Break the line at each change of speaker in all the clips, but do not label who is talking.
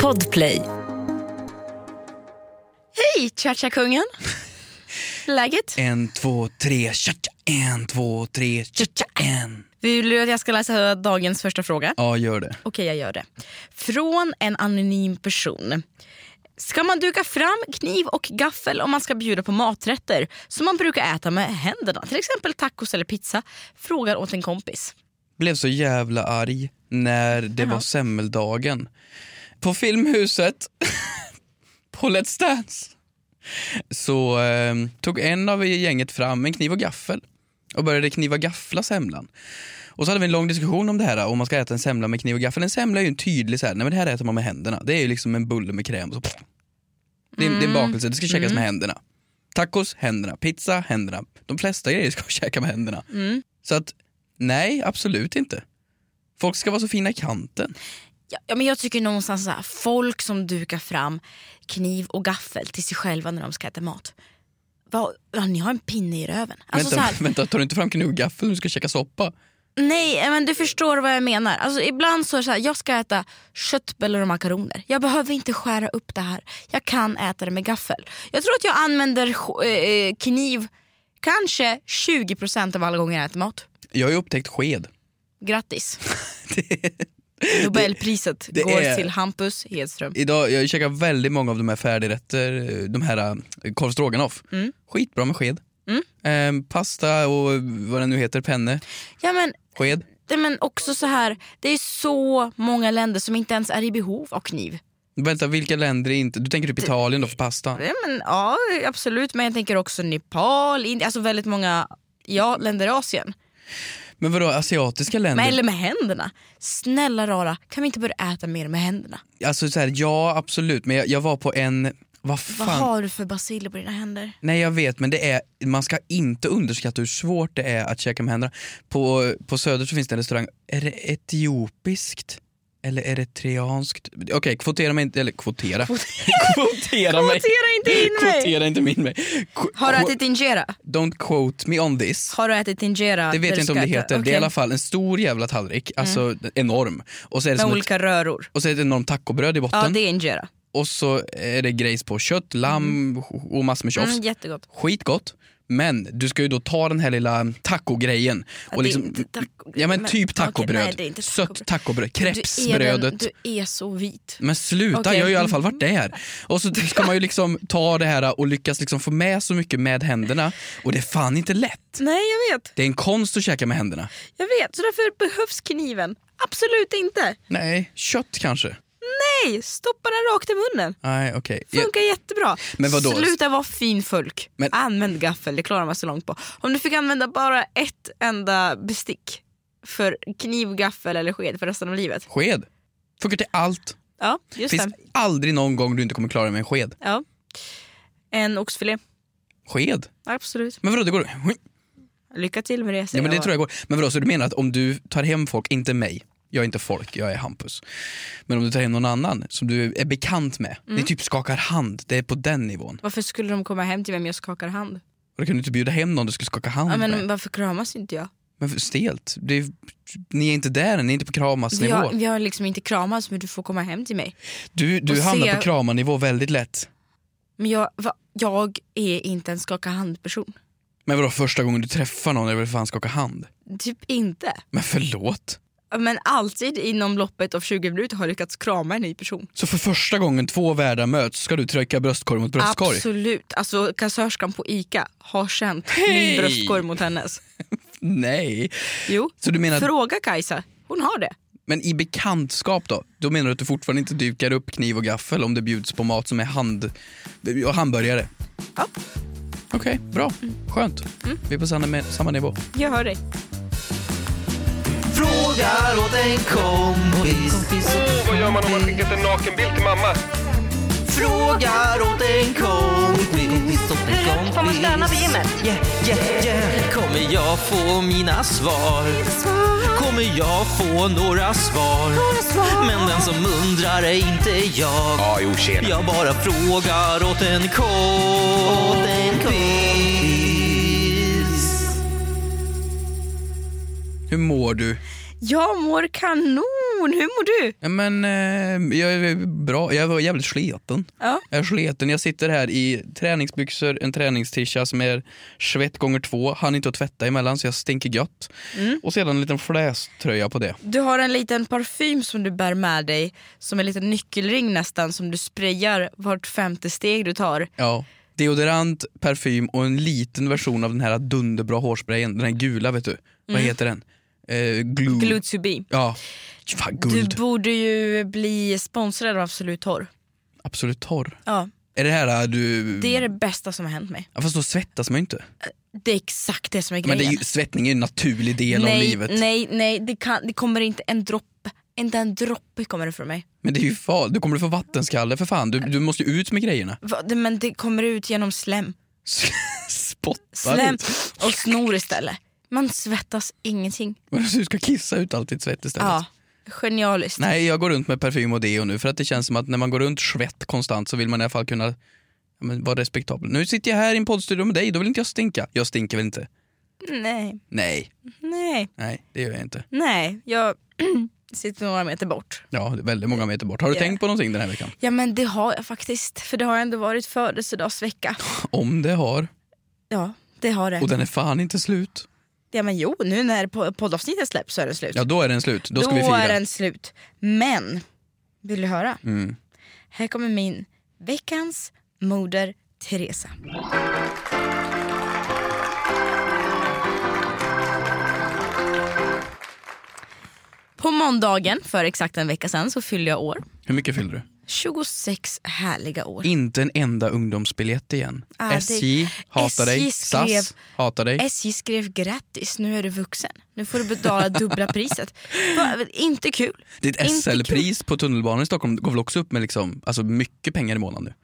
Podplay.
Hej, cha-cha-kungen! Läget?
En, två, tre, tja, tja. En, två, tre, tja, tja, en.
Vill du att jag ska läsa dagens första fråga?
Ja, gör det.
Okej, jag gör det. Från en anonym person. Ska man duka fram kniv och gaffel om man ska bjuda på maträtter som man brukar äta med händerna, till exempel tacos eller pizza? Frågar åt en kompis.
Blev så jävla arg när det var semmeldagen. På Filmhuset, på Let's Dance, så eh, tog en av gänget fram en kniv och gaffel och började kniva gaffla semlan. Och så hade vi en lång diskussion om det här, om man ska äta en semla med kniv och gaffel. En semla är ju en tydlig så här, nej men det här äter man med händerna. Det är ju liksom en bulle med kräm. och Så, det, är, det är en bakelse, det ska käkas med händerna. Tacos, händerna. Pizza, händerna. De flesta grejer ska käka med händerna. Så att, nej absolut inte. Folk ska vara så fina i kanten.
Ja, ja, men jag tycker någonstans så här, folk som dukar fram kniv och gaffel till sig själva när de ska äta mat. Vad, ja, ni har en pinne i röven. Alltså, så
vänta,
här,
vänta, tar du inte fram kniv och gaffel när du ska käka soppa?
Nej eh, men du förstår vad jag menar. Alltså, ibland så är det så här, jag ska äta köttbullar och makaroner. Jag behöver inte skära upp det här. Jag kan äta det med gaffel. Jag tror att jag använder sk- eh, kniv kanske 20% av alla gånger jag äter mat.
Jag har ju upptäckt sked.
Grattis.
Det-
Nobelpriset
det
går
är-
till Hampus Hedström.
Idag, jag käkar väldigt många av de här färdigrätter, de här eh, korv stroganoff.
Mm.
Skitbra med sked. Eh, pasta och vad det nu heter, penne,
Ja, men,
sked.
det- men också så här, det är så många länder som inte ens är i behov av kniv.
Vänta, vilka länder är inte... Du tänker typ Italien då för pasta?
Ja, men, ja absolut, men jag tänker också Nepal, Indien, alltså väldigt många ja, länder i Asien.
Men vadå, asiatiska
Men,
länder?
eller med händerna. Snälla rara, kan vi inte börja äta mer med händerna?
Alltså så här, ja absolut, men jag, jag var på en... Vad
Vad
fan?
har du för baciller på dina händer?
Nej jag vet men det är, man ska inte underskatta hur svårt det är att käka med händerna. På, på Söder så finns det en restaurang, är det etiopiskt? Eller eritreanskt? Okej, kvotera mig inte, eller kvotera. kvotera mig.
Kvotera inte in mig.
Kvotera inte min mig. Qu-
Har du
qu-
ätit injera?
Don't quote me on this.
Har du ätit injera?
Det
där
vet jag inte om
ska
det
äta-
heter. Det är
Okej.
i alla fall en stor jävla tallrik, alltså enorm. Och så är det
Med
som ett,
olika röror.
och så är det ett enormt tacobröd i
Ja
botten.
det är injera.
Och så är det grejs på kött, lamm och massor med tjofs.
Mm, jättegott.
skitgott. Men du ska ju då ta den här lilla tacogrejen.
det är
Och liksom,
inte taco-
ja men
men-
typ
okej,
tacobröd.
nej, det är inte
Sött
tacobröd.
tacobröd.
Du är,
Krepsbrödet.
den, du är så vit.
Men sluta,
Okej. Mm.
jag har ju i alla fall varit där. Och så ska man ju liksom ta det här och lyckas liksom få med så mycket med händerna. Och det är fan inte lätt.
Nej jag vet,
Det är en konst att käka med händerna.
jag vet. Så därför behövs kniven. Absolut inte.
Nej, kött kanske?
Nej, stoppa den rakt i munnen.
Nej, okej. Jag-
Funkar jättebra.
Men vadå?
Sluta vara fin folk.
Men-
Använd gaffel, det klarar man så långt på. Om du fick använda bara ett enda bestick för kniv, gaffel eller sked för resten av livet.
Sked. Funkar till allt.
Ja, just
Finns
det.
aldrig någon gång du inte kommer klara dig med en sked.
Ja. En oxfilé,
Sked?
absolut.
Men vadå, det går...
Lycka till med det säger
Ja, men det
jag
tror jag går. Men vadå, så du menar att om du tar hem folk, inte mig, jag är inte folk, jag är Hampus. Men om du tar hem någon annan som du är bekant med,
Mm.
ni typ skakar hand, det är på den nivån.
Varför skulle de komma hem till vem jag skakar hand?
Och då kan du inte bjuda hem någon du ska skaka hand
Ja, men
med.
varför kramas inte jag?
Men för stelt, det är, ni är inte där än, ni är inte på
Vi
kramasnivå.
har, vi har liksom inte kramats men du får komma hem till mig.
Du, du
och
hamnar
se-
på kramanivå väldigt lätt.
Men jag, va, jag är inte en skaka hand person.
Men vadå, första gången du träffar någon är det väl fan skaka hand?
Typ inte.
Men förlåt?
men alltid inom loppet av 20 minuter har lyckats krama en ny person.
Så för första gången två världar möts ska du trycka bröstkorg mot bröstkorg?
Absolut. Alltså kassörskan på ICA har känt min
Hej!
bröstkorg mot hennes.
Nej.
Jo,
Så du menar att
fråga Kajsa. Hon har det.
Men i bekantskap då? Då menar du att du fortfarande inte dukar upp kniv och gaffel om det bjuds på mat som är hand... och hamburgare?
Ja. Mm.
Okej, bra. Skönt. Vi är på samma, samma nivå.
Jag hör dig.
Frågar åt en kompis.
Vad gör man om man skickat en nakenbild till mamma?
Frågar åt en kompis.
Får man stöna på gymmet?
Yeah, yeah, yeah. Kommer jag få mina svar? Kommer jag få några svar? Men den som undrar är inte jag.
Ja, jo, tjena.
Jag bara frågar åt en kompis.
Hur mår du?
Jag mår kanon. mormor, hur mår du?
Ja, men eh, jag är bra. Jag var jävligt sliten.
Ja.
Jag är sliten. Jag sitter här i träningsbyxor, en träningstisha som är svett gånger två. Han inte att tvätta emellan så jag stinker gött.
Mm.
Och sedan en liten fläströja på det.
Du har en liten parfym som du bär med dig, som en liten nyckelring nästan som du sprayar vart femte steg du tar.
Ja. Deodorant, parfym och en liten version av den här dunderbra hårsprayen. Den här gula vet du. Vad heter den? Eh, glue.
Mm. Glue to be.
Ja. Fan
Du
guld.
borde ju bli sponsrad av Absolut Torr.
Absolut torr.
Ja,
Är det här eh, du...
det är det bästa som har hänt mig.
Ja, fast då svettas man ju inte.
Det är exakt det som är
Men
grejen.
det är ju, svettning är ju en naturlig del av
nej,
livet.
nej, nej, det, kan, det kommer inte en droppe. Inte en droppe kommer det från mig.
Men det är ju farligt, du kommer få vattenskalle för fan. Du, du måste ju ut med grejerna.
Va, det, men det kommer ut genom slem.
Spottar
Slem
ut.
och snor istället. Man svettas ingenting.
Men Du ska kissa ut allt ditt svett istället.
Ja, genialiskt.
Nej, jag går runt med parfym och deo nu för att det känns som att när man går runt svett konstant så vill man i alla fall kunna ja, men, vara respektabel. Nu sitter jag här i en poddstudio med dig, då vill inte jag stinka. Jag stinker väl inte?
Nej,
Nej,
nej,
nej det gör jag inte.
nej. Jag sitter några meter bort.
Ja, det är väldigt många meter bort. Har du
Ja.
tänkt på någonting den här veckan?
Ja men det har jag faktiskt. För det har ändå varit födelsedagsvecka.
Om det har.
Ja, det har det.
Och den är fan inte slut.
Ja men jo, nu när po- poddavsnittet släpps så är den slut.
Ja, då är den slut. Då ska vi fira.
är den slut. Men, vill du höra?
Mm.
Här kommer min veckans moder Teresa. På måndagen för exakt en vecka sedan så fyllde jag år.
Hur mycket fyller du?
26 härliga år.
Inte en enda ungdomsbiljett igen.
Ah, det-
SJ hatar
SJ
dig.
skrev-
SAS hatar dig.
SJ skrev grattis, nu är du vuxen. Nu får du betala dubbla priset. Va, inte kul.
Ditt
Inte
SL-pris på tunnelbanan i Stockholm går väl också upp med liksom, alltså mycket pengar i månaden nu?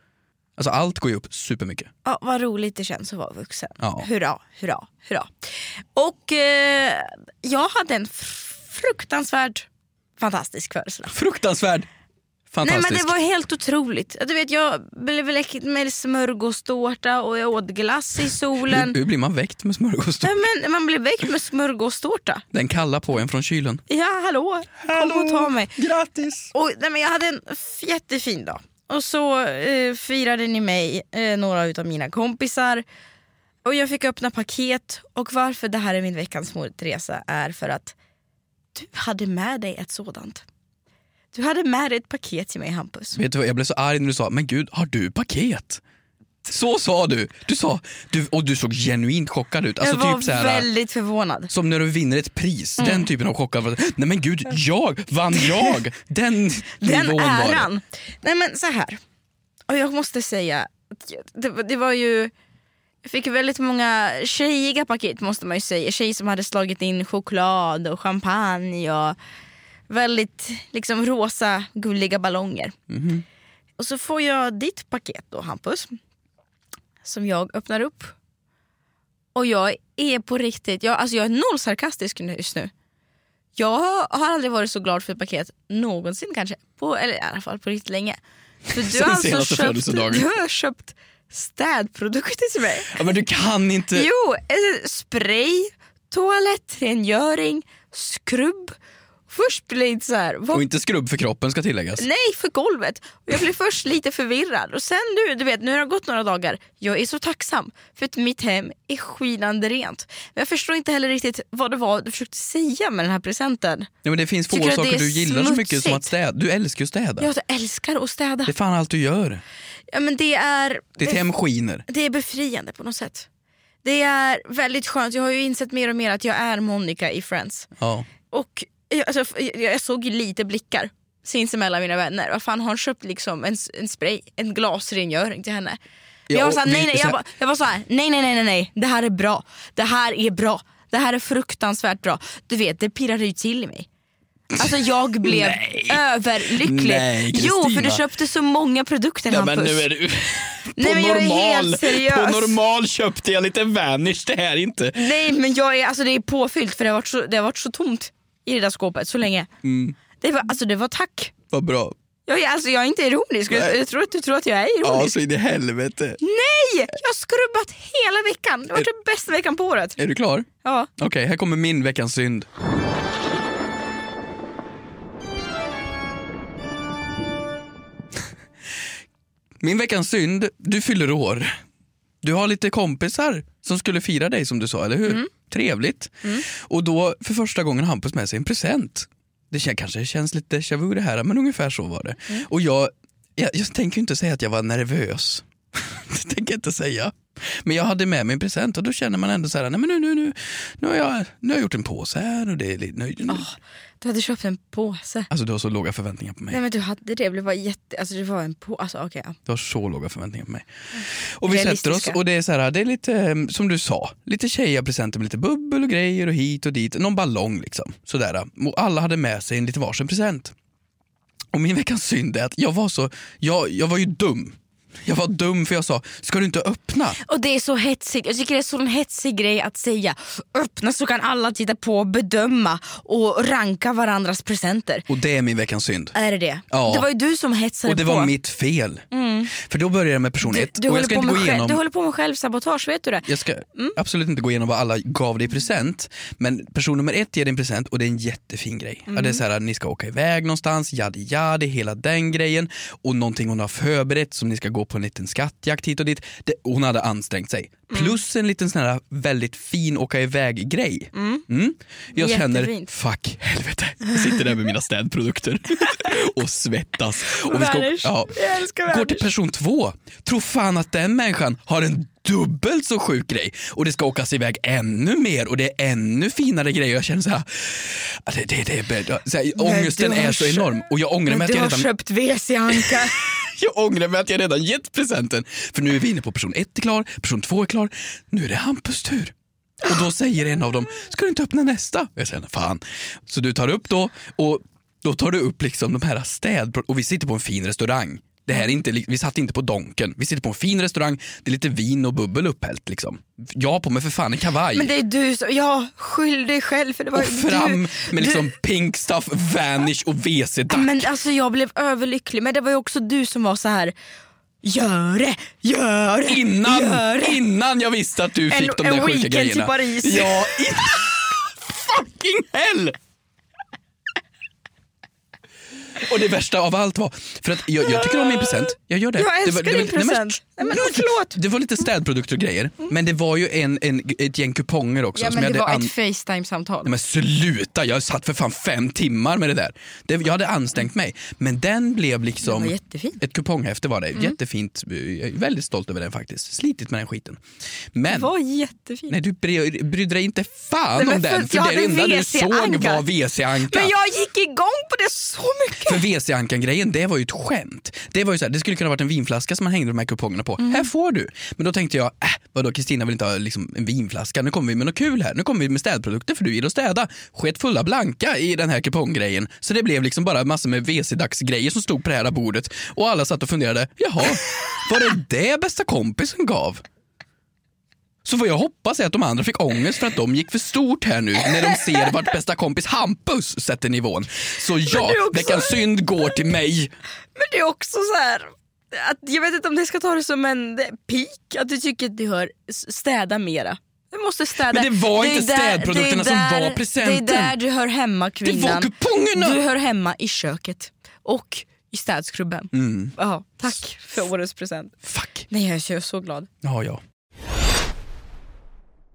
Alltså allt går ju upp supermycket.
Ja, vad roligt det känns att vara vuxen.
Ja.
Hurra, hurra, hurra. Och eh, jag hade en fr- fruktansvärd fantastisk födelsedag.
Fruktansvärd!
Nej
Fantastisk.
men det var helt otroligt. Du vet jag blev väckt med smörgåstårta och jag åt glass i solen.
hur, hur blir man väckt med smörgåstårta?
Nej, men man blev väckt med smörgåstårta.
Den kallar på en från kylen.
Ja hallå, kom och ta mig.
Grattis!
Och, nej, men jag hade en f- jättefin dag. Och så eh, firade ni mig, eh, några utav mina kompisar. Och jag fick öppna paket. Och varför det här är min veckans mor Teresa är för att du hade med dig ett sådant. Du hade med dig ett paket till mig Hampus.
Vet du vad, jag blev så arg när du sa, men gud, har du paket? Så sa du! Du sa, du, och du såg genuint chockad ut. Alltså
jag var Mm.
typ så här,
väldigt förvånad.
Som när du vinner ett pris, den typen av chockad. Nej men gud, jag! Vann jag? Den,
Den
nivån var det.
äran. Nej men så här. Och jag måste säga, att jag- det, var- det var ju... Jag fick väldigt många tjejiga paket måste man ju säga. Tjejer som hade slagit in choklad och champagne och väldigt liksom rosa gulliga ballonger. Och så får jag ditt paket då Hampus. Som jag öppnar upp. Och jag är på riktigt, jag, alltså jag är noll sarkastisk nu- just nu. Jag har aldrig varit så glad för ett paket någonsin kanske. På, eller i alla fall på riktigt länge. För du
Sen
har alltså
senaste
köpt,
födelsedagen.
du har köpt städprodukter till mig.
Ja, men du kan inte...
Jo, eh, spray, toalettrengöring, skrubb. Först blir det lite så här, vad
Och inte skrubb för kroppen ska tilläggas.
Nej, för golvet. Och jag blev först lite förvirrad och sen nu, du vet, nu har det gått några dagar. Jag är så tacksam för att mitt hem är skinande rent. Men jag förstår inte heller riktigt vad det var du försökte säga med den här presenten.
Nej, men det finns få
Tycker att
saker
det är
du gillar så mycket som
smutsigt?
att städa. Du älskar ju att städa.
Jag älskar att städa.
Det är fan allt du gör.
Ja, men det är...
Ditt hem skiner.
det är befriande på något sätt. Det är väldigt skönt. Jag har ju insett mer och mer att jag är Monica i Friends.
Ja.
Och jag, alltså, f- jag, jag såg ju lite blickar sinsemellan mina vänner. Vad fan har hon köpt liksom en, s- en spray, en glasrengöring till henne? Men
Ja,
jag var
och
såhär, nej,
vi-
nej,
så här-
jag, bara- jag var såhär, nej nej nej nej nej, det här är bra. Det här är bra. Det här är fruktansvärt bra. Du vet det pirrade ju till i mig. Alltså jag blev
Nej.
överlycklig.
Nej,
jo för du
Kristina.
köpte så många produkter Hampus.
du... På
Nej, men jag är helt seriös.
köpte jag lite Vanish, det här inte.
Nej men jag är, alltså det är påfyllt för det har varit så, det har varit så tomt i det där skåpet så länge.
Mm.
Det, var, alltså det var tack.
Vad bra.
Jag är, alltså jag är inte ironisk, jag,
Nej. alltså-
jag tror att du tror att jag är ironisk.
så in i helvete.
Nej! Jag har skrubbat hela veckan, det har varit den bästa veckan på året.
Är du klar?
Ja.
Okej, här kommer min veckans synd. Min veckans synd, du fyller år. Du har lite kompisar som skulle fira dig som du sa, eller hur? Trevligt. Och då för första gången har Hampus med sig en present. Det kän- kanske känns lite déjà vu det här, men ungefär så var det. Och jag, jag, jag tänker ju inte säga att jag var nervös. det tänker jag inte säga. Men jag hade med mig en present och då känner man ändå så här, nej men nu, nu, nu, nu, har, jag, nu har jag gjort en påse här och det är lite, nu, nu.
Du hade köpt en påse.
Alltså du har så låga förväntningar på mig.
Nej men du hade det, det var jätte, alltså det var en påse, alltså okej. ja.
Du har så låga förväntningar på mig. Och vi sätter
Mm. Realistiska.
oss och det är så här, det är lite eh, som du sa, lite tjejapresenter med lite bubbel och grejer och hit och dit, någon ballong liksom. Sådär. Och alla hade med sig en lite varsin present. Och min veckans synd är att jag var så, jag, jag var ju dum. Jag var dum för jag sa, ska du inte öppna?
Och det är så hetsigt, jag tycker det är så en hetsig grej att säga. Öppna så kan alla titta på, bedöma och ranka varandras presenter.
Och det är min veckans synd.
Är det det?
Ja.
Det var ju du som hetsade
Och det
på. Mm.
var mitt fel. För då började jag med personlighet.
du,
och
håller
jag ska
på
inte
med
gå
själv-
igenom...
du håller på med självsabotage, vet du det?
Jag ska absolut inte gå igenom vad alla gav dig i present, men person nummer ett ger dig en present och det är en jättefin grej. Ja, det är så här, ni ska åka iväg någonstans, jadi jadi, hela den grejen och någonting hon har förberett som ni ska gå på en liten skattjakt hit och dit. Det, hon hade ansträngt sig. Plus en liten sån här väldigt fin åka iväg-grej. Mm. Jag känner,
Jättefint.
fuck helvete, jag sitter där med mina städprodukter och svettas. Och
Värners.
ja.
Jag älskar
Går
Värners.
till person två. Tror fan att den människan har en dubbelt så sjuk grej och det ska åkas iväg ännu mer och det är ännu finare grejer. Jag känner så här, ah, det, det, det är bädd- så här ångesten
du har
är så
kö-
enorm och jag ångrar, mig
Men
att
du
jag,
har
redan,
köpt WC-anka.
jag ångrar mig att jag redan gett presenten. För nu är vi inne på person ett är klar, person två är klar, nu är det Hampus tur. Och då säger en av dem, ska du inte öppna nästa? Jag säger, fan. Så du tar upp då och då tar du upp liksom de här städ och vi sitter på en fin restaurang. Det här är inte, li- vi satt inte på Donken, vi sitter på en fin restaurang, det är lite vin och bubbel upphällt liksom. Jag har på mig för fan en kavaj.
Men det är du som, ja skyll dig själv för det var
och
ju
fram
du.
med liksom pink stuff, vanish och
du,
WC-dack.
men alltså jag blev överlycklig men det var ju också du som var så här gör det, gör det,
Innan,
gör det.
innan jag visste att du fick de
en
där sjuka
weekend typ
grejerna.
till Paris.
Ja, in- fucking hell! Och det värsta av allt var, för att jag, jag tycker om min present, jag gör det.
Jag
det var-
älskar
det var-
din
nej, men-
present. Nej men förlåt. Mm.
Det var lite städprodukter och grejer, men det var ju en, en, ett gäng kuponger också.
Ja
som
men
jag
det
hade
var
an-
ett facetime-samtal.
Nej, men sluta, jag satt för fan fem timmar med det där. Det, jag hade ansträngt mig. Men den blev liksom...
Den var Mm. jättefin.
Ett kuponghäfte var det. Jättefint. Jag är väldigt stolt över den faktiskt. Slitit med den skiten. Men...
Det var jättefint.
Nej du bry- brydde dig inte fan
Nej, men
om
för
den.
att
För
jag
det
hade
enda du såg
WC-anka.
var WC-anka.
Men jag gick igång på det så mycket.
För WC-ankan-grejen, det var ju ett skämt. Det, var ju så här, det skulle kunna varit en vinflaska som man hängde de här kupongerna
Mm.
på. Här får du. Men då tänkte jag, äh, vadå Kristina vill inte ha liksom, en vinflaska, nu kommer vi med något kul här. Nu kommer vi med städprodukter för du gillar att städa. Sket fulla blanka i den här kuponggrejen. Så det blev liksom bara massor med WC-dagsgrejer som stod på det här bordet. Och alla satt och funderade, jaha, var det det bästa kompisen gav? Så vad jag hoppas är att de andra fick ångest för att de gick för stort här nu när de ser vart bästa kompis Hampus sätter nivån. Så ja,
det är också-
veckans synd går till mig.
Men det är också så här. Att jag vet inte om det ska ta det som en eh, peak, att du tycker att du hör s- städa mera. Du måste städa.
Men det var
är
inte städprodukterna
det är
som var
där-
presenten.
Det är där du hör hemma
Det
kvinnan.
var kupongerna!
Du hör hemma i köket och i städskrubben.
Mm.
Ja, tack för årets present.
Fuck.
Nej jag är så- jag är så glad.
Ja, ja.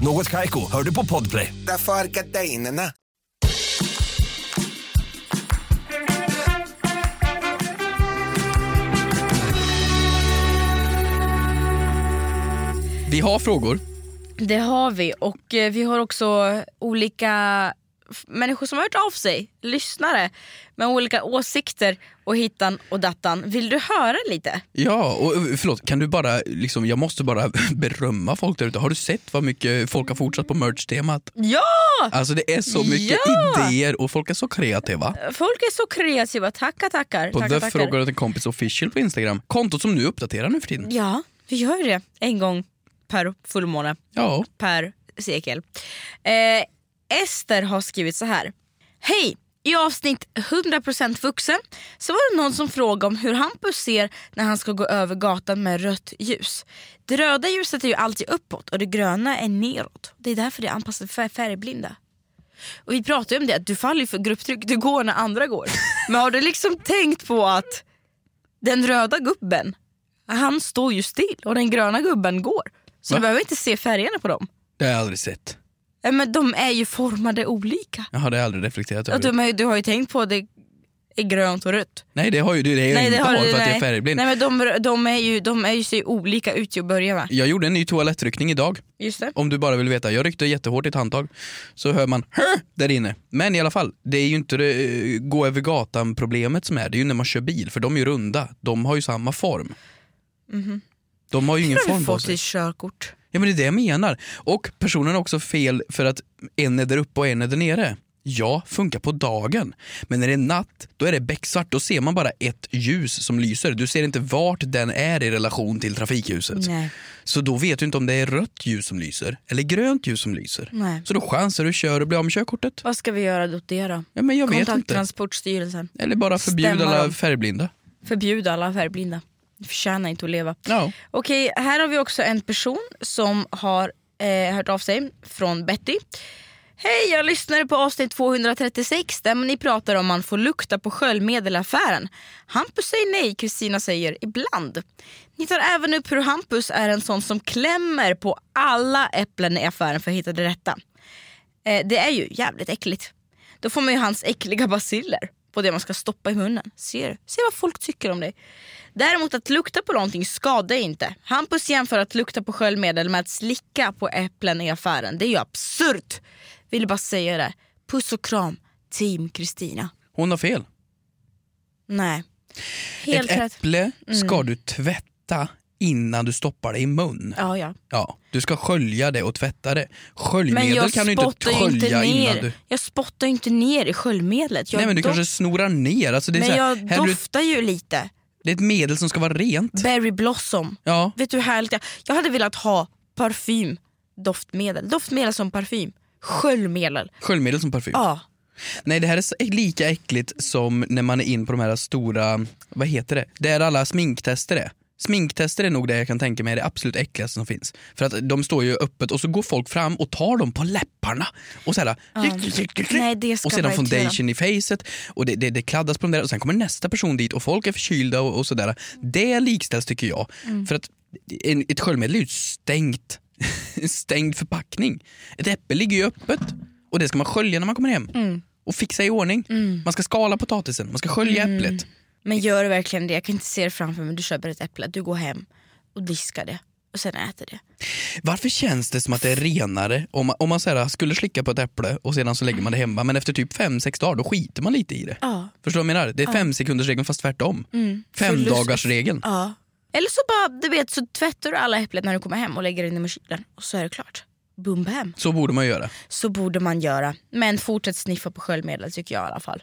Något Kaiko, hör du på Podplay.
Därför är gardinerna.
Vi har frågor.
Det har vi och eh, vi har också olika f- människor som har hört av sig, lyssnare med olika åsikter och hittan och dattan. Vill du höra lite?
Ja, och eh, förlåt, kan du bara, liksom, jag måste bara berömma folk där ute. Har du sett vad mycket folk har fortsatt på merch-temat?
Ja!
Alltså det är så mycket
Ja!
idéer och folk är så kreativa.
Folk är så kreativa, tackar tackar.
På
tackar,
The
tackar.
Frågar åt en kompis official på Instagram. Kontot som nu uppdaterar nu för tiden.
Ja, vi gör ju det en gång per fullmåne
Ja.
per sekel. Eh, Ester har skrivit så här. Hej! I avsnitt 100% vuxen så var det någon som frågade om hur Hampus ser när han ska gå över gatan med rött ljus. Det röda ljuset är ju alltid uppåt och det gröna är neråt. Det är därför det är anpassat för färgblinda. Och vi pratade ju om det, att du faller ju för grupptryck, du går när andra går. Men har du liksom tänkt på att den röda gubben, han står ju still och den gröna gubben går. Så du
Va?
behöver inte se färgerna på dem.
Det har jag aldrig sett.
Ja, Men de är ju formade olika.
Jag hade aldrig reflekterat över
Och
det.
de är, du har ju tänkt på att det är grönt och rött.
Nej det har ju det, det är jag inte har, för att jag är
nej.
färgblind.
Nej men de, de är ju, de är ju ser ju olika ut till att börja med.
Jag gjorde en ny toalettryckning idag.
Just det.
Om du bara vill veta. Jag ryckte jättehårt i ett handtag. Så hör man Hör! där inne. Men i alla fall, det är ju inte det eh, gå över gatan problemet som är. Det är ju när man kör bil för de är ju runda. De har ju samma form. De har ju ingen
Nu har
form
du
på
fått
sig.
ditt körkort.
Ja men det är det jag menar. Och personen har också fel för att en är där uppe och en är där nere. Ja, funkar på dagen. Men när det är natt, då är det becksvart. Då ser man bara ett ljus som lyser. Du ser inte vart den är i relation till trafikljuset.
Nej.
Så då vet du inte om det är rött ljus som lyser eller grönt ljus som lyser.
Nej.
Så då chansar du kör och blir av med körkortet.
Vad ska vi göra åt det då?
Ja, men jag vet
Kontakta
inte.
Transportstyrelsen.
Eller bara förbjud
Stämma
alla
dem.
färgblinda.
Förbjud alla färgblinda. Ni förtjänar inte att leva.
Ja.
Okej, här har vi också en person som har eh, hört av sig från Betty. Hej, jag lyssnade på avsnitt 236 där ni pratar om man får lukta på sköljmedelaffären. Hampus säger nej, Kristina säger ibland. Ni tar även upp hur Hampus är en sån som klämmer på alla äpplen i affären för att hitta det rätta. Eh, det är ju jävligt äckligt. Då får man ju hans äckliga basiller på det man ska stoppa i munnen. Ser, ser vad folk tycker om dig. Däremot att lukta på någonting skadar ju inte. Hampus jämför att lukta på sköljmedel med att slicka på äpplen i affären. Det är ju absurt! Vill bara säga det. Puss och kram, team Kristina.
Hon har fel.
Nej. Helt
Ett
rätt. Mm.
äpple ska du tvätta innan du stoppar det i mun.
Ja, ja.
Ja, du ska skölja det och tvätta det.
Men
Sköljmedel
jag
kan du inte
spottar ju inte
skölja innan
ner.
du...
Jag spottar ju inte ner i sköljmedlet. Jag
Nej men du
doft-
kanske snorar ner. Alltså det, är
men
så här,
jag
häller du,
doftar ju lite.
det är ett medel som ska vara rent.
Berry Blossom.
Ja,
Vet du hur härligt jag... jag hade velat ha parfym, doftmedel. Doftmedel som parfym. Sköljmedel.
sköljmedel som parfym.
Ja.
Nej det här är så- lika äckligt som när man är in på de här stora, vad heter det, där alla sminktester är. Sminktester är nog det jag kan tänka mig är det absolut äckligaste som finns. För att de står ju öppet och så går folk fram och tar dem på läpparna. Och så här,
Nej, det ska
och sedan
vara
foundation i facet och det, det, det kladdas på dem där och sen kommer nästa person dit och folk är förkylda och, och sådär. Det likställs tycker jag.
Mm.
För att en, ett sköljmedel är ju ett stängt, en stängd förpackning. Ett äpple ligger ju öppet och det ska man skölja när man kommer hem.
Mm.
Och fixa i ordning. Man ska skala potatisen, man ska skölja
Mm.
äpplet.
Men gör du verkligen det? Jag kan inte se det framför mig. Du köper ett äpple, du går hem och diskar det och sen äter det.
Varför känns det som att det är renare om man, om man så här, skulle slicka på ett äpple och sedan så lägger man det hemma men efter typ fem sex dagar då skiter man lite i det.
Ja. Mm.
Förstår du vad jag menar? Det är fem sekunders regeln fast tvärtom. Fem
Förlust-
dagars regeln.
Ja. Eller så bara, du vet, så tvättar du alla äpplen när du kommer hem och lägger in dem i kylen och så är det klart. Boom bam.
Så borde man göra.
Så borde man göra. Men fortsätt sniffa på sköljmedel tycker jag i alla fall.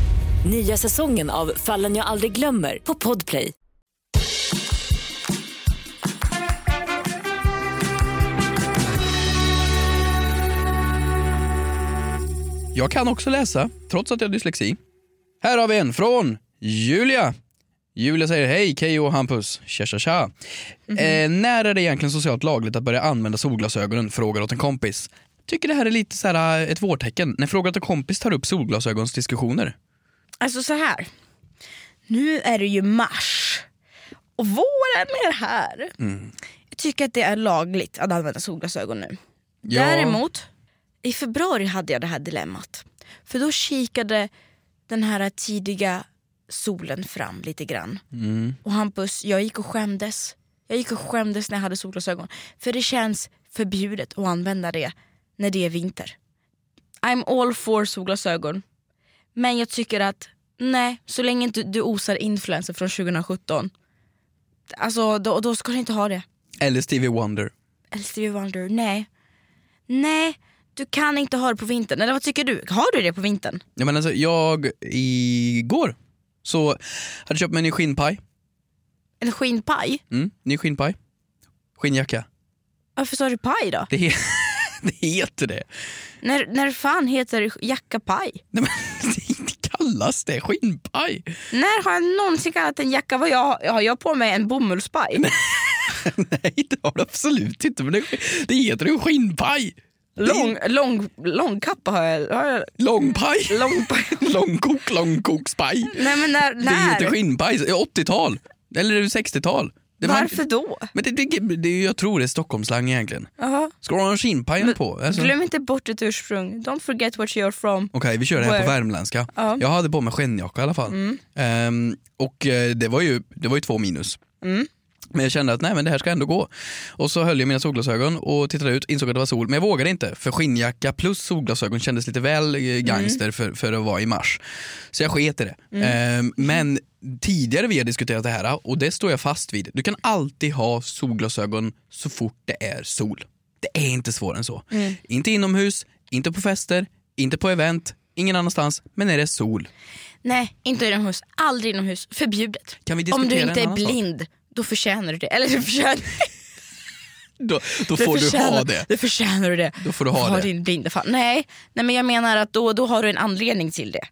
Nya säsongen av Fallen jag aldrig glömmer på Podplay.
Jag kan också läsa, trots att jag har dyslexi. Här har vi en från Julia. Julia säger hej Keyyo och Hampus. Tja tja tja. Eh, när är det egentligen socialt lagligt att börja använda solglasögonen? Frågar åt en kompis. Tycker det här är lite så här eh, ett vårtecken. När Frågar åt en kompis tar upp solglasögonsdiskussioner.
Alltså så här. Nu är det ju mars och våren är här. Jag tycker att det är lagligt att använda solglasögon nu.
Ja.
Däremot, i februari hade jag det här dilemmat. För då kikade den här tidiga solen fram lite grann. Och Hampus, jag gick och skämdes. Jag gick och skämdes när jag hade solglasögon. För det känns förbjudet att använda det när det är vinter. I'm all for solglasögon. Men jag tycker att nej, så länge inte du osar influencer från 2017. Alltså då, då ska du inte ha det.
Eller Stevie Wonder.
Eller Stevie Wonder, nej. Nej, du kan inte ha det på vintern. Eller vad tycker du? Har du det på vintern?
Ja, men alltså, jag igår så hade jag köpt mig en ny skinnpaj.
En skinnpaj?
Mm, ny skinnpaj. Skinnjacka.
Varför sa du paj då?
Det, he- det heter det.
När, när fan heter det jacka paj?
Nej, men det inte kallas det. Skinnpaj.
När har jag någonsin kallat en jacka vad jag har? Har jag på mig en bomullspaj?
Nej, det har du absolut inte. Men det, det heter en skinnpaj.
Lång, lång, långkappa har jag. Har jag...
Långpaj.
Långpaj.
Långkok, långkokspaj.
Nej men när?
Det heter
när?
skinnpaj. 80-tal. Eller 60-tal. Det var-
Varför då?
Men det, det, det, jag tror det är Stockholmsslang egentligen.
Jaha.
Ska du ha en skinnpaj på? Alltså.
Glöm inte bort ditt ursprung. Don't forget what you're from.
Okej, vi kör det här på
Where?
värmländska.
Ja.
Jag hade på mig skinnjacka i alla fall.
Mm.
Ehm, och eh, det var, ju, det var ju två minus.
Mm.
Men jag kände att nej men det här ska ändå gå. Och så höll jag mina solglasögon och tittade ut, insåg att det var sol. Men jag vågade inte för skinnjacka plus solglasögon kändes lite väl eh,
Mm.
gangster för, för att vara i mars. Så jag sket i det.
Mm.
Ehm, men tidigare vi har diskuterat det här och det står jag fast vid. Du kan alltid ha solglasögon så fort det är sol. Det är inte svårare än så.
Mm.
Inte inomhus, inte på fester, inte på event, ingen annanstans. Men är det sol?
Nej, inte inomhus. Aldrig inomhus. Förbjudet.
Kan vi
Om
diskutera
du
en
inte är
annan sak?
blind, då förtjänar du det. Eller du förtjänar,
Då, då får du
förtjänar,
ha det.
Då förtjänar du det.
Då får du ha det.
din blinda fan. Nej. nej, men jag menar att då, då har du en anledning till det.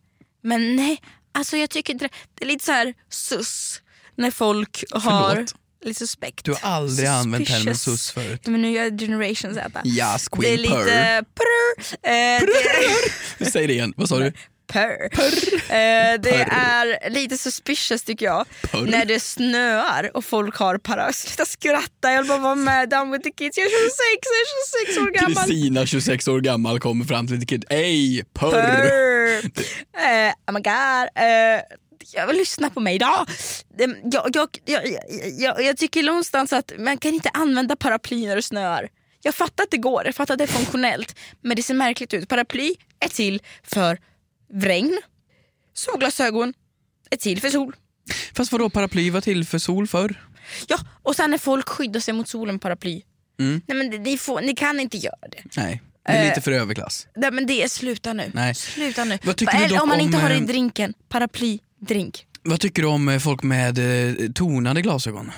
Men nej, alltså jag tycker inte det. Det är lite så här sus när folk har
Förlåt.
lite suspekt.
Du har aldrig använt termen
Suspicious.
sus förut.
Men nu gör jag generation Z.
Yes,
Det är
queen purr.
lite purr. Eh, det-
Säg det igen, vad sa du?
Purr. Eh, det är lite suspicious tycker jag. När det snöar och folk har para. Sluta skratta, jag vill bara vara med. Down with the kids. Jag är 26, jag är 26 år gammal.
Kristina, 26 år gammal, kommer fram till ett kid. Ey, purr!
Purr. Eh, oh my god. Eh, jag vill lyssna på mig idag. Eh, Jag, jag, jag, jag, jag, jag tycker någonstans att man kan inte använda paraply när det snöar. Jag fattar att det går, jag fattar att det är funktionellt. Men det ser märkligt ut. Paraply är till för regn. Solglasögon är till för sol.
Fast vadå, paraply var till för sol förr?
Ja, och sen när folk skyddar sig mot solen med paraply.
Mm.
Nej men ni, får, ni kan inte göra det.
Nej, det är
Eh.
lite för överklass.
Nej men det är sluta nu.
Nej.
Sluta nu.
Vad tycker ni
Eller
dock
om man inte
om,
har det i
eh,
drinken, paraply, drink.
Vad tycker du om eh, folk med eh, tonade glasögon?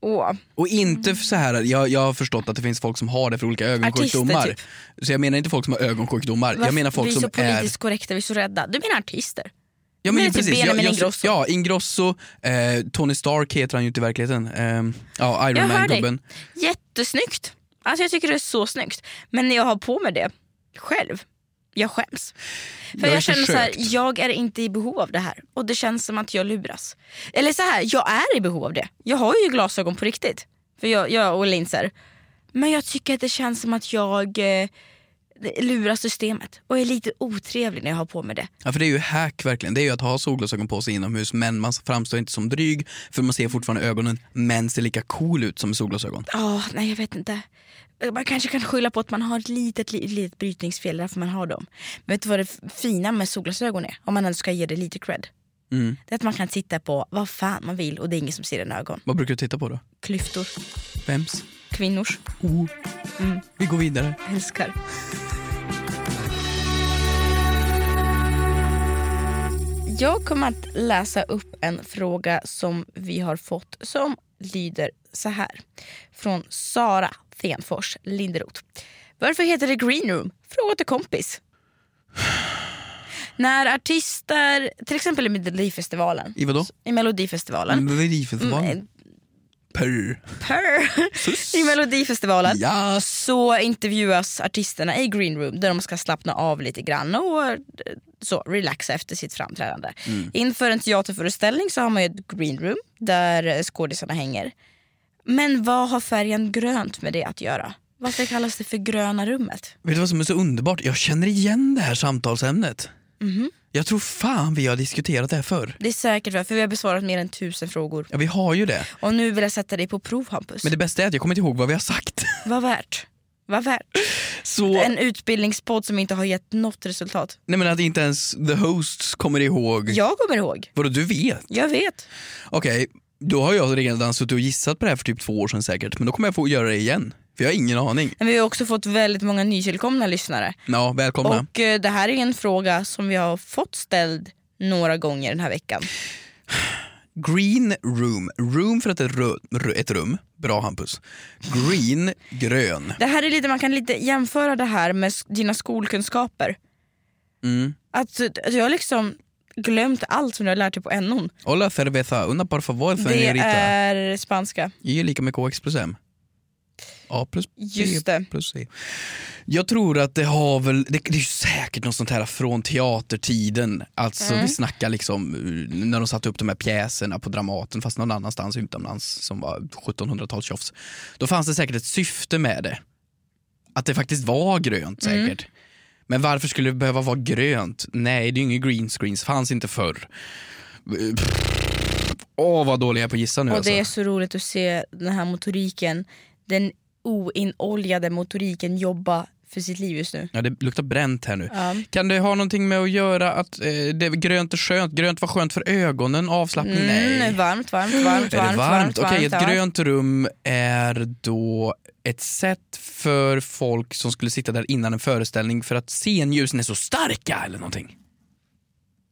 Åh.
Och inte
Mm.
för så här, jag, jag har förstått att det finns folk som har det för olika ögonsjukdomar.
Artister, typ.
Så jag menar inte folk som har ögonsjukdomar, jag menar folk
vi är
som
så
är...
politiskt korrekta, vi är så rädda. Du menar artister?
Ja,
Du menar typ Benjamin
jag, jag,
Ingrosso?
ja, Ingrosso, eh, Tony Stark heter han ju inte i verkligheten. Eh, ja, Iron
Jag hör dig.
Man-gubben.
Jättesnyggt. Alltså jag tycker det är så snyggt. Men när jag har på mig det själv, jag skäms. För
har
jag känner så här,
försökt.
jag är inte i behov av det här. Och det känns som att jag luras. Eller så här, jag är i behov av det. Jag har ju glasögon på riktigt. För jag, jag och linser. Men jag tycker att det känns som att jag eh, lurar systemet. Och är lite otrevlig när jag har på mig det.
Ja, för det är ju hack verkligen. Det är ju att ha solglasögon på sig inomhus men man framstår inte som dryg för man ser fortfarande ögonen men ser lika cool ut som med solglasögon.
Ja, nej jag vet inte. Eh, Man kanske kan skylla på att man har ett litet, litet, litet brytningsfel, därför man har dem. Men vet du vad det f- fina med solglasögon är? Om man ändå ska ge det lite cred.
Mm.
Det är att man kan titta på vad fan man vill och det är ingen som ser en ögon.
Vad brukar du titta på då?
Klyftor,
Vems?
kvinnors,
Oh,
mm,
vi går vidare.
älskar. Jag kommer att läsa upp en fråga som vi har fått som lyder så här. Från Sara Stenfors Linderoth. Varför heter det green room? Fråga till kompis. När artister, till exempel i Melodifestivalen.
I vadå?
I Melodifestivalen.
Melodifestivalen.
Mm,
Purr.
Purr. I Melodifestivalen
Ja.
så intervjuas artisterna i green room där de ska slappna av lite grann och eh, så, relaxa efter sitt framträdande.
Mm.
Inför en teaterföreställning så har man ju ett green room där eh, skådisarna hänger. Men vad har färgen grönt med det att göra? Varför kallas det för gröna rummet?
Vet du vad som är så underbart? Jag känner igen det här samtalsämnet.
Mhm.
Jag tror fan vi har diskuterat det här förr.
Det är säkert för, för vi har besvarat mer än tusen frågor.
Ja, vi har ju det.
Och nu vill jag sätta dig på prov Hampus.
Men det bästa är att jag kommer inte ihåg vad vi har sagt.
Vad värt? Vad värt?
Så-
En utbildningspodd som inte har gett något resultat.
Nej men att inte ens the hosts kommer ihåg.
Jag kommer ihåg.
Vadå du vet?
Jag vet.
Okej, då har jag redan suttit och gissat på det här för typ två år sedan säkert. Men då kommer jag få göra det igen. För jag har ingen aning.
Men vi har också fått väldigt många nytillkomna lyssnare.
Ja, välkomna.
Och eh, det här är en fråga som vi har fått ställd några gånger den här veckan.
Green room. Room för att ett, ru- ru- ett rum. Bra Hampus. Green, grön.
Det här är lite, man kan lite jämföra det här med s- dina skolkunskaper.
Mm.
Att, att jag har liksom glömt allt som du har lärt dig på NO'n.
Hola cerveza, una por favor
Det
señorita. Är...
är spanska.
J är lika med KX plus M. A plus B
Just det.
plus C. Jag tror att det har väl, det, det är ju säkert något sånt här från teatertiden. Alltså
Mm.
vi snackar liksom eh, när de satte upp de här pjäserna på Dramaten fast någon annanstans utomlands som var 1700-talstjofs. Då fanns det säkert ett syfte med det. Att det faktiskt var grönt
Mm.
säkert. Men varför skulle det behöva vara grönt? Nej, det är ju inget green screens, fanns inte förr. Eh, pff. Åh vad dålig jag är på att gissa nu
Och
alltså.
det är så roligt att se den här motoriken, den oinoljade motoriken jobba för sitt liv just nu.
Ja, det luktar bränt här nu.
Ja.
Kan det ha någonting med att göra att eh, det är grönt är skönt? Grönt var skönt för ögonen, avslappning? Nej.
Mm, varmt, varmt, varmt, varmt.
är det varmt?
varmt,
Okej, ett
varmt, varmt.
grönt rum är då ett sätt för folk som skulle sitta där innan en föreställning för att scenljusen är så starka eller någonting.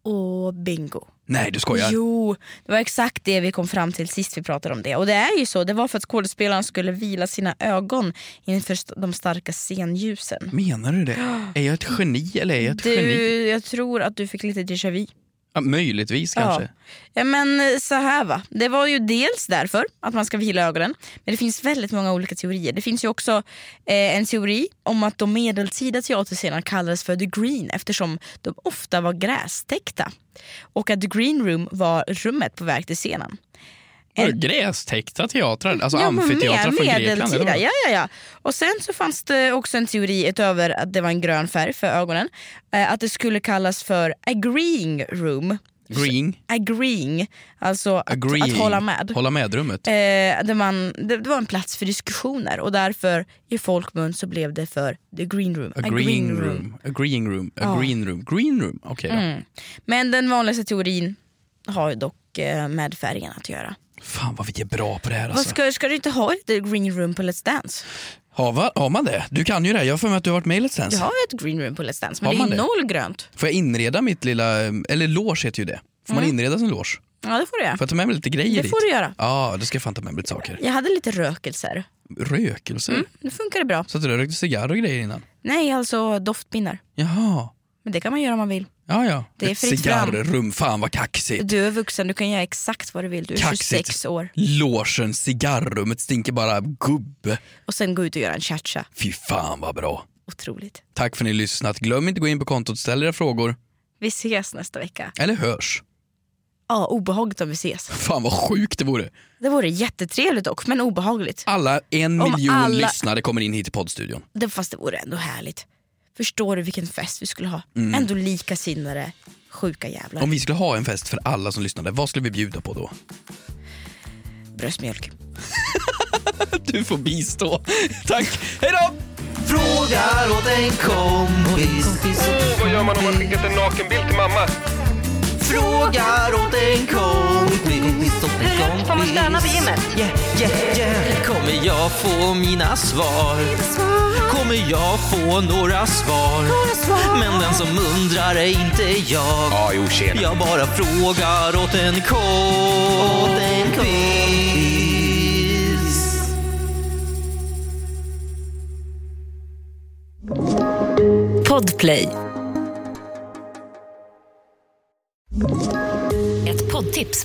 Och bingo.
Nej, du skojar.
Jo, det var exakt det vi kom fram till sist vi pratade om det. Och det är ju så, det var för att skådespelarna skulle vila sina ögon inför st- de starka scenljusen.
Menar du det? Är jag ett geni eller är jag ett geni?
Du, jag tror att du fick lite déjà vu.
Ja, möjligtvis kanske.
Ja, men eh, så här va. Det var ju dels därför att man ska vila ögonen. Men det finns väldigt många olika teorier. Det finns ju också eh, en teori om att de medeltida teaterscenerna kallades för the green eftersom de ofta var grästäckta. Och att the green room var rummet på väg till scenen.
Ja. Grästäckta teatrar, alltså
Ja, men
amfiteatrar
mer-
från Grekland. eller
medeltida,
vad?
ja, ja, ja. Och sen så fanns det också en teori utöver att det var en grön färg för ögonen. Eh, att det skulle kallas för agreeing room.
Green,
Agreeing, alltså Att,
agreeing.
att hålla med.
Hålla med-rummet.
Eh, där man, det, det var en plats för diskussioner och därför i folkmun så blev det för the green room.
A green room. A green room. A
Ja.
green room. Green room. Okej då.
Mm. Men den vanligaste teorin har ju dock eh, med färgen att göra.
Fan vad vi är bra på det här
Vad
alltså.
ska, ska du inte ha ett green room på Let's Dance?
Har, va, har man det? Du kan ju det. här. Jag har för mig att du har varit med i Let's Dance.
Jag har ett green room på Let's Dance men
Har
det är
man
ju
det?
noll grönt.
Får jag inreda mitt lilla, eh, eller loge heter ju det. Får man
Mm.
inreda sin loge?
Ja det får du göra.
Får jag ta med mig lite grejer
Det
dit?
får du göra.
Ja, då ska jag fan ta med mig lite saker.
Jag hade lite rökelser.
Rökelser?
Mm, nu funkar det bra.
Så att du rökte cigarr och grejer innan?
Nej alltså doftpinnar.
Jaha.
Men det kan man göra om man vill.
Ja, ja.
Det är
Ett
fritt fram.
cigarrrum. Fan vad kaxigt.
Du är vuxen, du kan göra exakt vad du vill. Du är
Kaxigt.
26 år.
Logen, cigarrummet stinker bara gubbe.
Och sen gå ut och göra en cha-cha.
Fy fan vad bra.
Otroligt.
Tack för att ni har lyssnat. Glöm inte att gå in på kontot, ställ era frågor.
Vi ses nästa vecka.
Eller hörs.
Ja, obehagligt om vi ses.
Fan vad sjukt det vore.
Det vore jättetrevligt dock, men obehagligt.
Alla, en
Om
miljon
alla-
lyssnare kommer in hit i poddstudion.
Det, fast det vore ändå härligt. Förstår du vilken fest vi skulle ha?
Mm.
Ändå likasinnade sjuka jävlar.
Om vi skulle ha en fest för alla som lyssnade, vad skulle vi bjuda på då?
Bröstmjölk.
du får bistå. Tack, hej då!
Frågar åt en kompis.
Åh, vad gör man om man skickat en nakenbild till mamma?
Frågar åt en kompis. Får man stanna på gymmet? Yeah, yeah, yeah. Kommer jag få mina svar? Kommer jag få några svar? Men den som undrar är inte jag.
Ja, jo, tjena.
Jag bara frågar åt en kompis.
Podplay. Ett poddtips